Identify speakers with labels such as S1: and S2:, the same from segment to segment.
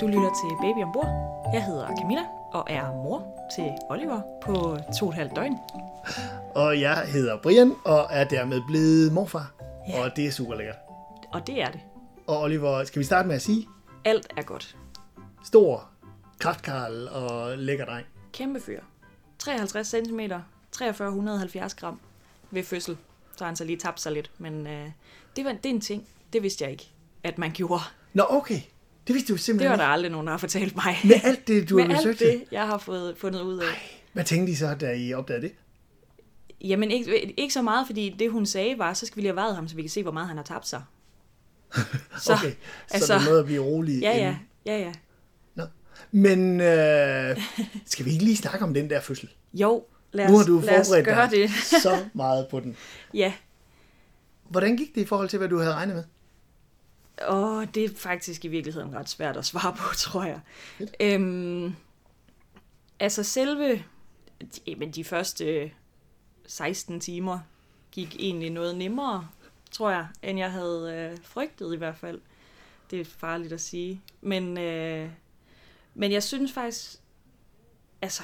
S1: lytter til Baby Ombord. Jeg hedder Camilla og er mor til Oliver på to og et halvt døgn.
S2: Og jeg hedder Brian, og er dermed blevet morfar.
S1: Ja.
S2: Ja. Og det er super lækkert.
S1: Og det er det.
S2: Og Oliver, skal vi starte med at sige,
S1: Alt er godt.
S2: stor, kraftkarl og lækker dreng.
S1: Kæmpe fyr. 53 cm, 4370 gram ved fødsel. Så har han så lige tabt sig lidt, men øh, det, var, det er en ting. Det vidste jeg ikke, at man gjorde.
S2: Nå, okay. Det vidste du
S1: Det
S2: simpelthen
S1: var der aldrig nogen, der har fortalt mig.
S2: ikke. Med alt det, du har
S1: Med alt
S2: besøgt.
S1: det, jeg har fået fundet ud af.
S2: Hvad tænkte I så, da I opdagede det?
S1: Jamen, ikke, ikke så meget, fordi det, hun sagde, var, så skal vi lige have vejet ham, så vi kan se, hvor meget han har tabt sig. Så,
S2: okay, så altså, der er noget at blive rolig.
S1: ja, ja,
S2: inden.
S1: ja, ja.
S2: Nå. Men øh, skal vi ikke lige snakke om den der fødsel?
S1: Jo, lad os,
S2: nu har du
S1: lad os
S2: forberedt
S1: gøre
S2: dig
S1: det.
S2: så meget på den.
S1: Ja,
S2: Hvordan gik det i forhold til, hvad du havde regnet med?
S1: og det er faktisk i virkeligheden ret svært at svare på, tror jeg. Øhm, altså selve, men de første 16 timer gik egentlig noget nemmere, tror jeg, end jeg havde øh, frygtet i hvert fald. Det er farligt at sige. Men, øh, men jeg synes faktisk, altså,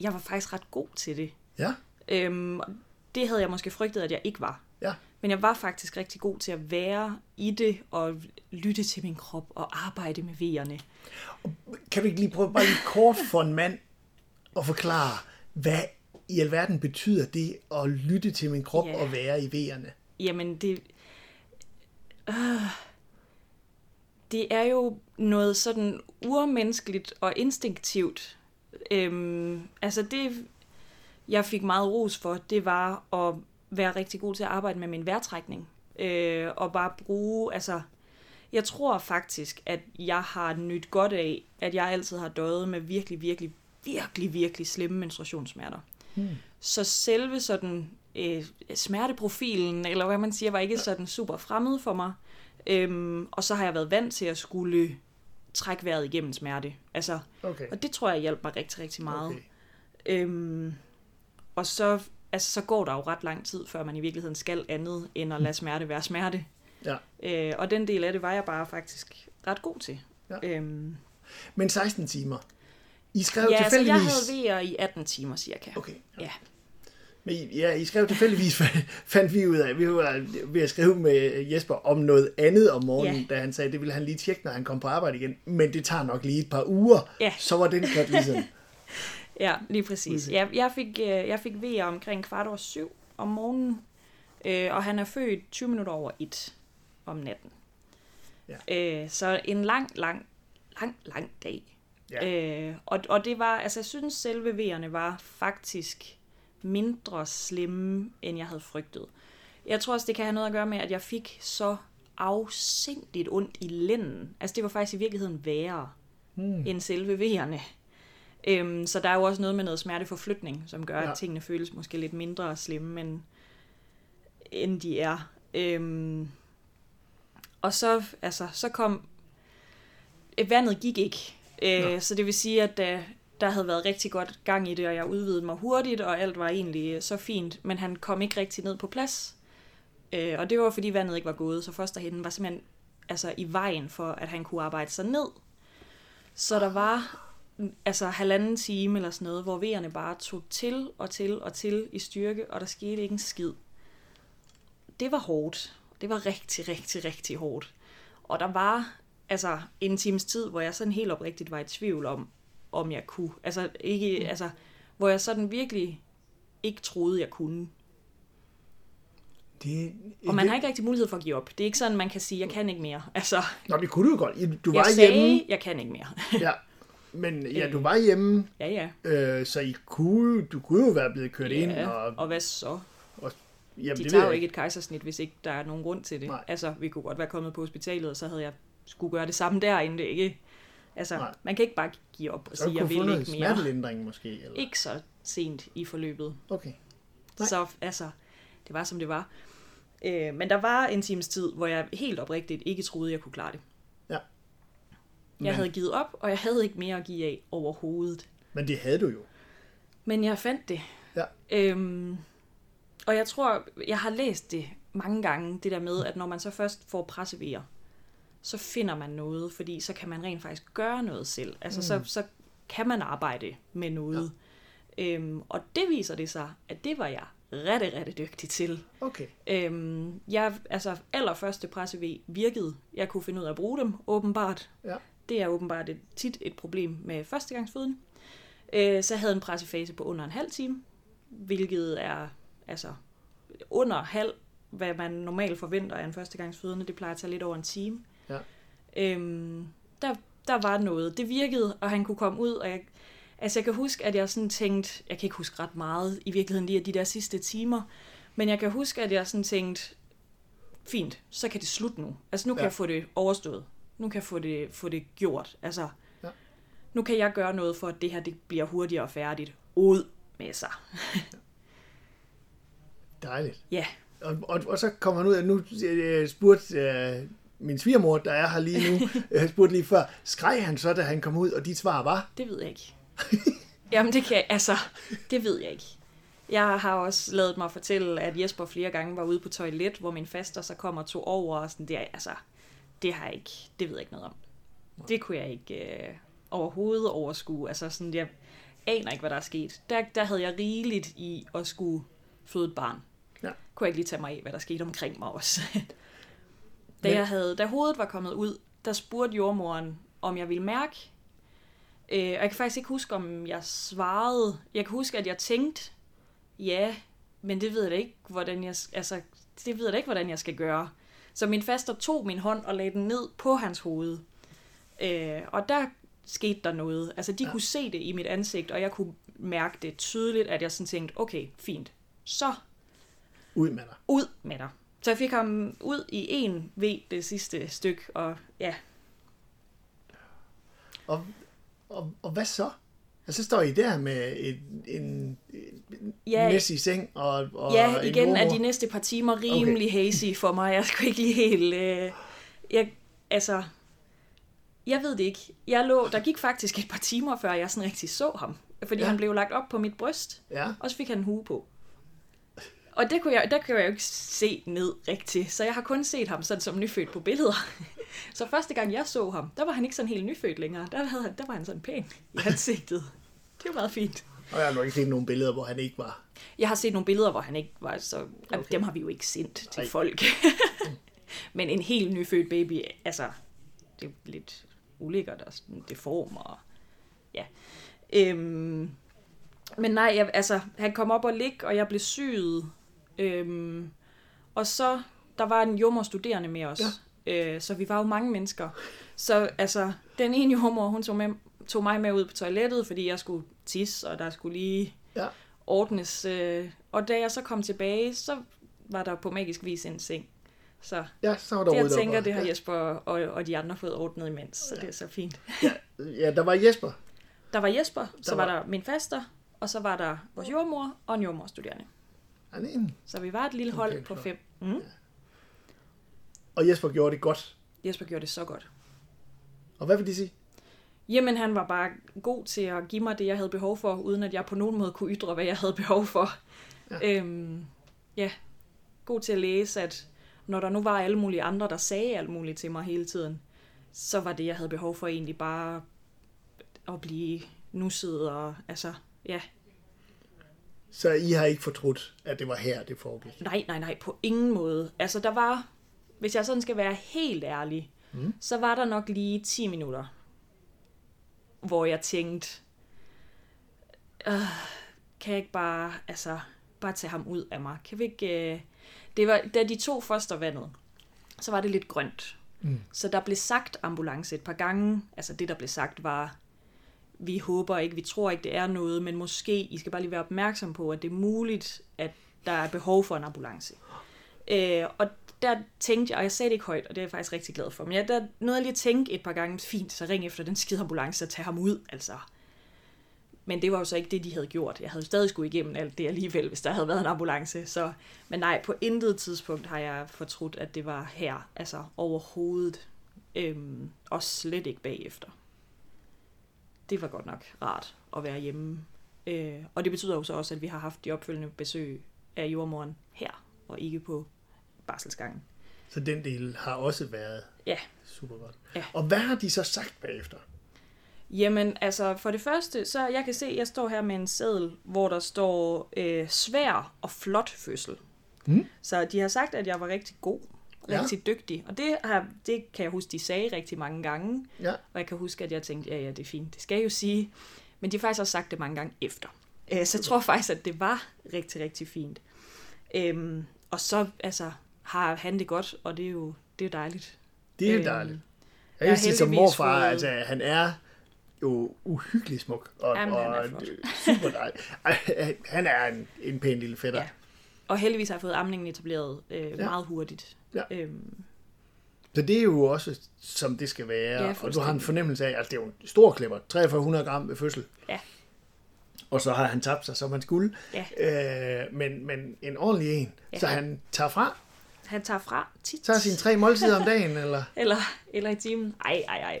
S1: jeg var faktisk ret god til det.
S2: Ja,
S1: Øhm, og det havde jeg måske frygtet, at jeg ikke var.
S2: ja.
S1: Men jeg var faktisk rigtig god til at være i det og lytte til min krop og arbejde med vejerne.
S2: Kan du ikke lige prøve bare lige kort for en mand at forklare, hvad i alverden betyder det at lytte til min krop
S1: Ja.
S2: yeah. og være i V'erne?
S1: Jamen det... Øh, det er jo noget sådan urmenneskeligt og instinktivt. Øhm, altså det, jeg fik meget ros for, det var at være rigtig god til at arbejde med min vejrtrækning. Øh, og bare bruge, altså... Jeg tror faktisk, at jeg har nyt godt af, at jeg altid har døjet med virkelig, virkelig, virkelig, virkelig slemme menstruationssmerter. Så selve sådan øh, smerteprofilen, eller hvad man siger, var ikke sådan super fremmed for mig. Øhm, og så har jeg været vant til at skulle trække vejret igennem smerte. Altså,
S2: Okay.
S1: og det tror jeg hjalp mig rigtig, rigtig meget.
S2: okay.
S1: Okay. Øhm, og så, altså, så går der jo ret lang tid, før man i virkeligheden skal andet, end at lade smerte være smerte.
S2: Ja.
S1: Øh, og den del af det var jeg bare faktisk ret god til.
S2: Ja.
S1: øhm,
S2: Men 16 timer. I skrev
S1: ja
S2: ja,
S1: altså, jeg
S2: tilfældigvis...
S1: havde vejer i 18 timer cirka.
S2: Okay.
S1: Ja.
S2: Men I- ja, I skrev tilfældigvis, fandt vi ud af. Vi var ved at skrive med Jesper om noget andet om morgenen,
S1: Ja.
S2: da han sagde, det ville han lige tjekke, når han kom på arbejde igen. Men det tager nok lige et par uger.
S1: Ja.
S2: Så var den godt ligesom.
S1: Ja, lige præcis. Jeg, jeg, fik, øh, jeg fik vejer omkring kvart over syv om morgenen, øh, og han er født 20 minutter over et om natten. Ja. Øh, så en lang, lang, lang, lang dag.
S2: Ja.
S1: Øh, og, og det var, altså jeg synes selve vejerne var faktisk mindre slemme, end jeg havde frygtet. Jeg tror også, det kan have noget at gøre med, at jeg fik så afsindigt ondt i lænden. Altså det var faktisk i virkeligheden værre mm. end selve vejerne. Øhm, så der er jo også noget med noget smerteforflytning, som gør, ja.
S2: Ja.
S1: at tingene føles måske lidt mindre slemme, end, end de er. Øhm, og så, altså, så kom... øh, Vandet gik ikke. Øh, så det vil sige, at der, der havde været rigtig godt gang i det, og jeg udvidede mig hurtigt, og alt var egentlig øh, så fint, men han kom ikke rigtig ned på plads. Øh, og det var, fordi vandet ikke var gået, så fosterhinden var simpelthen altså, i vejen for, at han kunne arbejde sig ned. Så der var mm, altså halvanden time eller sådan noget, hvor vejerne bare tog til og til og til i styrke, og der skete ikke en skid. Det var hårdt. Det var rigtig, rigtig, rigtig hårdt. Og der var altså en times tid, hvor jeg sådan helt oprigtigt var i tvivl om, om jeg kunne. Altså,
S2: Mm.
S1: ikke, altså hvor jeg sådan virkelig ikke troede, jeg kunne.
S2: Det,
S1: Og man har ikke rigtig mulighed for at give op. Det er ikke sådan, man kan sige, jeg kan ikke mere. Altså,
S2: Nå, det kunne du jo godt. I- Du var
S1: jeg
S2: hjemme.
S1: sagde, jeg kan ikke mere.
S2: Ja. Men ja,
S1: Øhm.
S2: du var hjemme,
S1: ja, ja.
S2: øh, så I kunne, du kunne jo være blevet kørt ind.
S1: ja.
S2: Og,
S1: Og hvad så?
S2: og, jamen,
S1: De
S2: det
S1: tager
S2: ved
S1: jo
S2: jeg
S1: ikke et kejsersnit, hvis ikke der er nogen grund til det.
S2: Nej.
S1: Altså, vi kunne godt være kommet på hospitalet, og så havde jeg skulle gøre det samme der, inden det ikke... Altså,
S2: Nej.
S1: man kan ikke bare give op og
S2: Så du
S1: sige, jeg
S2: kunne få
S1: vil
S2: noget
S1: ikke mere.
S2: smertelindring måske? Eller?
S1: Ikke så sent i forløbet.
S2: Okay. Nej.
S1: Nej. Så altså, det var som det var. Øh, men der var en times tid, hvor jeg helt oprigtigt ikke troede, jeg kunne klare det.
S2: Ja.
S1: Jeg havde givet op, og jeg havde ikke mere at give af overhovedet.
S2: Men det havde du jo.
S1: Men jeg fandt det.
S2: Ja.
S1: Øhm, og jeg tror, jeg har læst det mange gange, det der med, at når man så først får pressevejer, så finder man noget, fordi så kan man rent faktisk gøre noget selv. Altså mm. så, så kan man arbejde med noget. Ja. Øhm, og det viser det sig, at det var jeg rigtig, rigtig dygtig til.
S2: Okay.
S1: Øhm, jeg, altså allerførste presse virkede. Jeg kunne finde ud af at bruge dem, åbenbart.
S2: Ja.
S1: Det er åbenbart et, tit et problem med førstegangsføden. Øh, så jeg havde en pressefase på under en halv time, hvilket er altså under halv, hvad man normalt forventer af en førstegangsfødende. Det plejer at tage lidt over en time.
S2: Ja.
S1: Øhm, der, der var noget. Det virkede, og han kunne komme ud, og jeg, altså jeg kan huske, at jeg sådan tænkte, jeg kan ikke huske ret meget i virkeligheden lige af de der sidste timer, men jeg kan huske, at jeg sådan tænkte, fint, så kan det slutte nu. Altså nu kan
S2: Ja.
S1: ja. jeg få det overstået. Nu kan jeg få det, få det gjort. Altså,
S2: Ja.
S1: ja. nu kan jeg gøre noget for, at det her det bliver hurtigere og færdigt. Ud med sig.
S2: Dejligt.
S1: Ja,
S2: Og, og, og så kommer han ud, at nu øh, spurgte øh, min svigermor, der er her lige nu, øh, spurgte lige før, skreg han så, da han kom ud, og dit svar var?
S1: det ved jeg ikke. Jamen det kan jeg, altså, det ved jeg ikke. Jeg har også lavet mig fortælle, at Jesper flere gange var ude på toilet, hvor min faster så kom og tog over, og sådan der, altså, det har jeg ikke, det ved jeg ikke noget om. Det kunne jeg ikke øh, overhovedet overskue, altså sådan, jeg aner ikke, hvad der er sket. Der, der havde jeg rigeligt i at skulle føde et barn.
S2: Ja.
S1: Kunne jeg ikke lige tage mig af, hvad der skete omkring mig også. da,
S2: Men-
S1: jeg havde, da hovedet var kommet ud, der spurgte jordmoren, om jeg ville mærke, Øh, og jeg kan faktisk ikke huske, om jeg svarede. Jeg kan huske, at jeg tænkte, ja, men det ved jeg da ikke, hvordan jeg, altså, det ved jeg da ikke, hvordan jeg skal gøre. Så min faster tog min hånd og lagde den ned på hans hoved. Øh, og der skete der noget. Altså, de ja. kunne se det i mit ansigt, og jeg kunne mærke det tydeligt, at jeg sådan tænkte, okay, fint, så
S2: Ud med dig.
S1: ud med dig. Så jeg fik ham ud i en V det sidste stykke, og ja,
S2: Og, og, og hvad så? Og så står I der med et, en, en
S1: Ja.
S2: ja, messy seng og, og
S1: Ja,
S2: en
S1: igen er
S2: mormor.
S1: de næste par timer rimelig okay. hazy for mig. Jeg skulle ikke lige helt... Øh, jeg, altså, jeg ved det ikke. Jeg lå, der gik faktisk et par timer, før jeg sådan rigtig så ham. Fordi
S2: Ja.
S1: ja. han blev lagt op på mit bryst,
S2: Ja,
S1: og så fik han en hue på. Og det kunne jeg, der kunne jeg jo ikke se ned rigtigt, så jeg har kun set ham sådan som nyfødt på billeder. Så første gang jeg så ham, der var han ikke sådan helt nyfødt længere. Der, havde, han- der var han sådan pæn i ansigtet. Det var meget fint.
S2: og jeg har nok ikke set nogen billeder, hvor han ikke var.
S1: Jeg har set nogle billeder, hvor han ikke var så... Okay. Dem har vi jo ikke sendt til
S2: Nej.
S1: Ej. folk. Men en helt nyfødt baby, altså... Det er lidt ulækkert og sådan deform og... Ja. Øhm, men nej, jeg, altså, han kom op og lig, og jeg blev syet. Øhm, og så, der var en jommer studerende med os. Ja. Øh, så vi var jo mange mennesker. Så altså, den ene jommer, hun tog, med, tog mig med ud på toilettet, fordi jeg skulle tisse, og der skulle lige
S2: Ja,
S1: ordnes. Øh, og da jeg så kom tilbage, så var der på magisk vis en seng. Så
S2: ja så var der
S1: det, jeg
S2: ryddet op,
S1: tænker,
S2: og-
S1: det har Jesper og, og de andre fået ordnet imens, så det er så fint.
S2: Ja, der var Jesper.
S1: Der var Jesper, der så
S2: var-
S1: var, var der min faster, og så var der vores jordmor og en jordmorstuderende.
S2: Han er en.
S1: Så vi var et lille hold
S2: Okay,
S1: okay, på
S2: flot.
S1: fem. Mm.
S2: Og Jesper gjorde det godt.
S1: Jesper gjorde det så godt.
S2: Og hvad vil de sige?
S1: Jamen, han var bare god til at give mig det, jeg havde behov for, uden at jeg på nogen måde kunne ytre, hvad jeg havde behov for. Ja. Øhm, ja. God til at læse, at når der nu var alle mulige andre, der sagde alt muligt til mig hele tiden, så var det, jeg havde behov for egentlig bare at blive nusset og altså, ja,
S2: Så I har ikke fortrudt, at det var her, det foregik.
S1: Nej, nej, nej, på ingen måde. Altså, der var, hvis jeg sådan skal være helt ærlig, mm. så var der nok lige 10 minutter, hvor jeg tænkte, øh, kan jeg ikke bare, altså, bare tage ham ud af mig? Kan vi ikke... Øh... Det var, da de to foster vandet, så var det lidt grønt. Mm. Så der blev sagt ambulance et par gange. Altså, det der blev sagt var, vi håber ikke, vi tror ikke, det er noget, men måske, I skal bare lige være opmærksom på, at det er muligt, at der er behov for en ambulance. Øh, og der tænkte jeg, og jeg sagde det ikke højt, og det er jeg faktisk rigtig glad for, men jeg, der nåede jeg lige at tænke et par gange, fint, så ring efter den skide ambulance og tag ham ud, altså. Men det var jo så ikke det, de havde gjort. Jeg havde jo stadig skulle igennem alt det alligevel, hvis der havde været en ambulance. Så, men nej, på intet tidspunkt har jeg fortrudt, at det var her, altså overhovedet. Øhm, og slet ikke bagefter det var godt nok rart at være hjemme. Øh, og det betyder jo så også, at vi har haft de opfølgende besøg af jordmoren her, og ikke på barselsgangen.
S2: Så den del har også været
S1: Ja.
S2: super godt.
S1: Ja.
S2: Og hvad har de så sagt bagefter?
S1: Jamen, altså for det første, så jeg kan se, at jeg står her med en seddel, hvor der står øh, svær og flot fødsel.
S2: Mm.
S1: Så de har sagt, at jeg var rigtig god,
S2: Ja.
S1: rigtig dygtig. Og det, har, det kan jeg huske, de sagde rigtig mange gange.
S2: Ja.
S1: Og jeg kan huske, at jeg tænkte, ja, ja, det er fint, det skal jeg jo sige. Men de har faktisk også sagt det mange gange efter. Øh, Så jeg tror faktisk, at det var rigtig, rigtig fint. Øhm, og så altså, har han det godt, og det er jo, det er jo dejligt.
S2: Det er jo
S1: Øhm,
S2: dejligt.
S1: jeg
S2: Jeg
S1: har
S2: vil sige som
S1: heldigvis
S2: morfar,
S1: fået-
S2: altså han er jo uhyggelig smuk. Og,
S1: Jamen, han er
S2: og
S1: flot.
S2: øh, super dejlig. Ej, han er en, en pæn lille fætter.
S1: Ja. Og heldigvis har jeg fået amningen etableret øh, ja. meget hurtigt.
S2: Ja.
S1: Øhm,
S2: Så det er jo også, som det skal være.
S1: Ja,
S2: Ja, og du har en
S1: fuldstændig.
S2: fornemmelse af, at det er jo en stor klipper. 4300 gram ved fødsel.
S1: Ja.
S2: Og så har han tabt sig, som han skulle.
S1: ja.
S2: Øh, men, men en ordentlig en. Ja.
S1: Ja.
S2: Så han tager fra,
S1: Han tager fra tit.
S2: tager sine tre måltider om dagen, eller...
S1: Eller, eller i timen. Ej, ej, ej.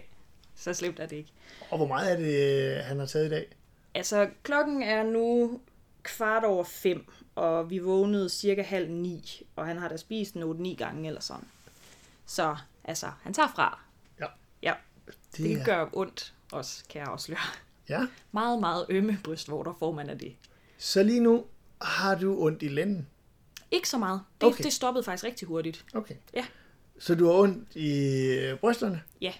S1: Så slemt er det ikke.
S2: Og hvor meget er det, øh, han har taget i dag?
S1: Altså, klokken er nu kvart over fem, og vi vågnede cirka halv ni, og han har da spist en 8-9 gange eller sådan. Så, altså, han tager fra.
S2: Ja.
S1: Ja, det,
S2: er-
S1: det gør ondt også, kan jeg afsløre.
S2: Ja.
S1: Meget, meget ømme brystvorter får man af det.
S2: Så lige nu har du ondt i lænden.
S1: Ikke så meget. Det,
S2: Okay.
S1: okay. det stoppede faktisk rigtig hurtigt.
S2: Okay.
S1: Ja.
S2: Så du har ondt i øh, brysterne?
S1: Ja.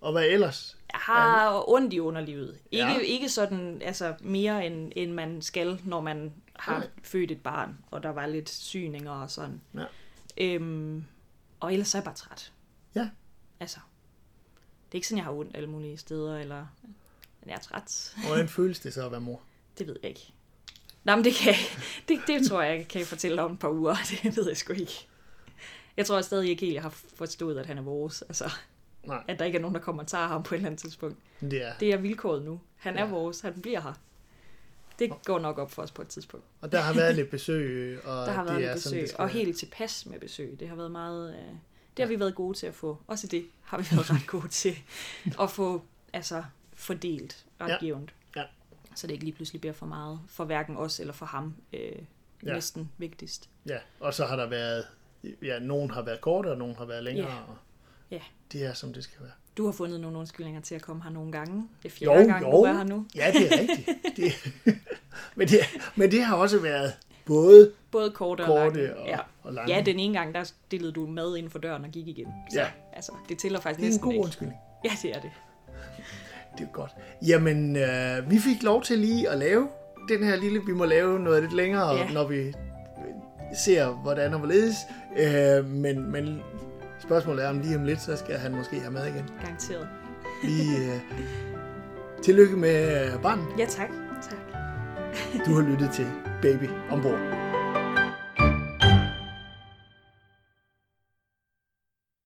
S2: Og hvad ellers?
S1: Jeg har ondt i underlivet. Ikke,
S2: Ja.
S1: ja. ikke sådan altså mere, end, end man skal, når man har
S2: Nej.
S1: født et barn, og der var lidt syninger og sådan.
S2: Ja.
S1: Øhm, og ellers er jeg bare træt.
S2: Ja.
S1: Altså, det er ikke sådan, jeg har ondt alle mulige steder, eller men jeg er træt.
S2: Hvordan føles det så at være mor?
S1: Det ved jeg ikke. Nej, men det kan jeg, det, det tror jeg, jeg kan fortælle om et par uger. Det ved jeg sgu ikke. Jeg tror stadig ikke helt, jeg har forstået, at han er vores. Altså,
S2: Nej,
S1: at der ikke er nogen, der kommer og tager ham på et eller andet tidspunkt.
S2: det er.
S1: Det er vilkåret nu. Han er
S2: Ja.
S1: ja. vores, han bliver her. Det går nok op for os på et tidspunkt.
S2: Og der har været lidt besøg, øh, og
S1: Der har
S2: det
S1: været
S2: er
S1: lidt
S2: sådan,
S1: besøg, sådan,
S2: det skal
S1: og
S2: være.
S1: helt tilpas med besøg. Det har været meget... Øh, det har vi været gode til at få. Også det har vi været ret gode til. At få altså, fordelt ret
S2: Ja.
S1: ja. jævnt.
S2: Ja.
S1: Så det ikke lige pludselig bliver for meget for hverken os eller for ham. Øh,
S2: Ja.
S1: ja. Næsten vigtigst.
S2: Ja, og så har der været, ja, nogen har været kortere, og nogen har været længere.
S1: Ja.
S2: Og
S1: Ja.
S2: Det er, som det skal være.
S1: Du har fundet nogle undskyldninger til at komme her nogle gange. Det er
S2: Jo,
S1: fjerde gang,
S2: jo.
S1: du er her nu.
S2: Ja, det er rigtigt. Det, men, det, men det har også været både
S1: Både korte, og lange.
S2: korte og,
S1: ja.
S2: og lange.
S1: ja, den ene gang, der stillede du med inden for døren og gik igen. Så,
S2: Ja.
S1: Altså, det tæller faktisk
S2: det er en
S1: næsten
S2: god
S1: ikke.
S2: undskyldning.
S1: Ja, det er det.
S2: Det er godt. Jamen, øh, vi fik lov til lige at lave den her lille, vi må lave noget lidt længere, ja.
S1: Ja.
S2: når vi øh, ser, hvordan og hvorledes. Øh, men, men spørgsmålet er, om lige om lidt, så skal han måske have med igen.
S1: Garanteret.
S2: Vi, øh, tillykke med øh, barnet.
S1: Ja, tak. Tak.
S2: Du har lyttet til Baby Ombord.